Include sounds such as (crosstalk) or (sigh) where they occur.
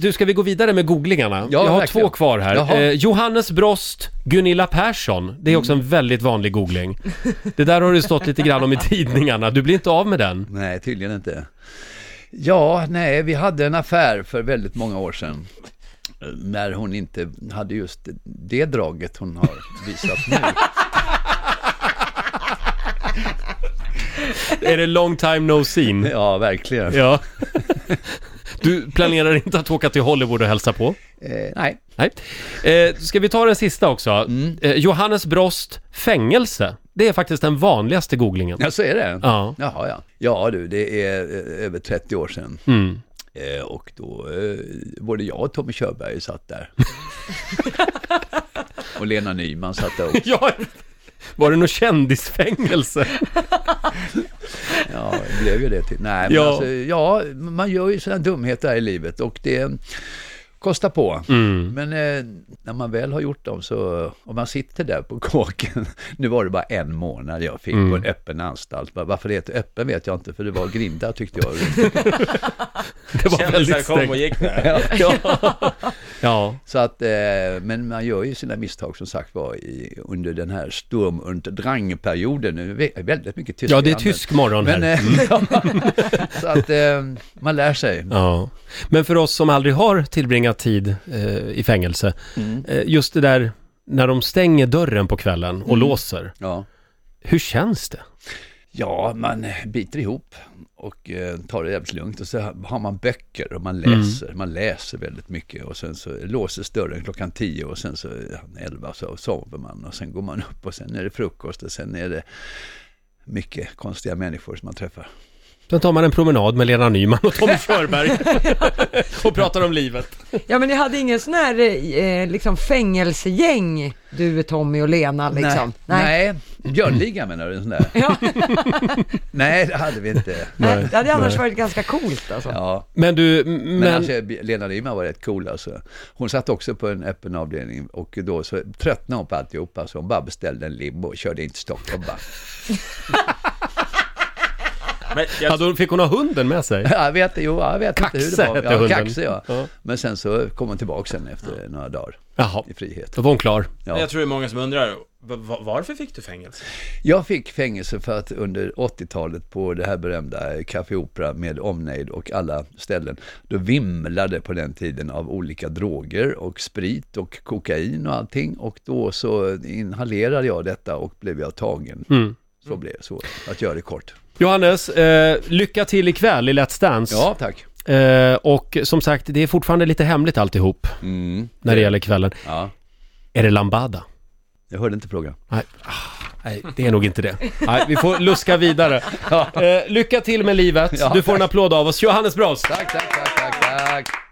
Du, ska vi gå vidare med googlingarna? Ja, jag har verkligen. två kvar här. Jaha. Eh, Johannes Brost, Gunilla Persson. Det är också en väldigt vanlig googling. Det där har det stått lite grann om i tidningarna. Du blir inte av med den. Nej, tydligen inte. Ja, nej, vi hade en affär för väldigt många år sedan. eh, När hon inte hade just det draget hon har visat (laughs) nu. Är det long time no seen? Ja, verkligen. Ja. (laughs) Du planerar inte att åka till Hollywood och hälsa på? Eh, nej. Nej. Eh, ska vi ta den sista också? Eh, Johannes Brost, fängelse. Det är faktiskt den vanligaste googlingen. Ja, så är det. Ja. Jaha, ja. Ja, du, det är eh, över 30 år sedan. Mm. Eh, och då, eh, både jag och Tommy Körberg (laughs) satt där. och Lena Nyman satt där också. (laughs) Ja, var det något kändisfängelse? Ja, det blev ju det till. Nej, men Ja. ja. Alltså, ja, man gör ju sådana dumheter här i livet och det kostar på. Men eh, när man väl har gjort dem så, om man sitter där på (laughs) kåken, nu var det bara en månad jag fick på en öppen anstalt. Bara, Varför det heter öppen vet jag inte, för det var grinda tyckte jag. Det var Kändisar väldigt kom och strängt. gick (laughs) där. Ja. Så att, eh, men man gör ju sina misstag som sagt var i, under den här Sturm und Drang-perioden. Nu är det väldigt mycket tyska ja, det i är landet. tysk morgon här. Men, eh, så att eh, man lär sig. Ja. Men för oss som aldrig har tillbringat tid eh, i fängelse, Mm. eh, just det där när de stänger dörren på kvällen och Mm. låser, Ja. hur känns det? Ja, man eh, biter ihop och eh, tar det jävligt lugnt. Och så har man böcker och man läser. Man läser väldigt mycket och sen så låses dörren klockan tio och sen så eh, elva så sover man och sen går man upp och sen är det frukost och sen är det mycket konstiga människor som man träffar. Sen tar man en promenad med Lena Nyman och (laughs) Tommy Körberg och pratar om livet. Ja men ni hade ingen sån här eh, liksom fängelsegäng, du, Tommy och Lena liksom? Nej. Nej. Björnligan menar du? en Sån där. Ja. (laughs) Nej, det hade vi inte. Nej, Det hade annars varit ganska coolt alltså. Ja. Men du, Men, men... alltså, Lena Nyman var rätt cool alltså. Hon satt också på en öppen avdelning och då så tröttnade hon på alltihopa så hon bara beställde en limo och körde in till Stockholm bara. (laughs) Men jag, Hade hon, fick hon ha hunden med sig? Jag vet, jo, jag vet inte Kaxe hur det hette var. Ja, hunden. kaxe, ja. Ja. Men sen så kom hon tillbaka sen efter några dagar Jaha, i frihet. då var hon klar. Ja. jag tror det är många som undrar, va- va- varför fick du fängelse? Jag fick fängelse för att under 80-talet på det här berömda Café Opera med omnejd och alla ställen, då vimlade på den tiden av olika droger och sprit och kokain och allting. Och då så inhalerade jag detta och blev jag tagen. Så blev det så, att göra det kort. Johannes, eh, lycka till ikväll i Let's Dance. Ja, tack. Eh, och som sagt, det är fortfarande lite hemligt alltihop Mm. när det gäller kvällen. Ja, Är det Lambada? jag hörde inte frågan. Nej, ah, nej det är nog inte det. Nej, vi får luska vidare. Eh, lycka till med livet. Ja, Du får en applåd av oss. Johannes Brost! Tack, tack, tack, tack, tack.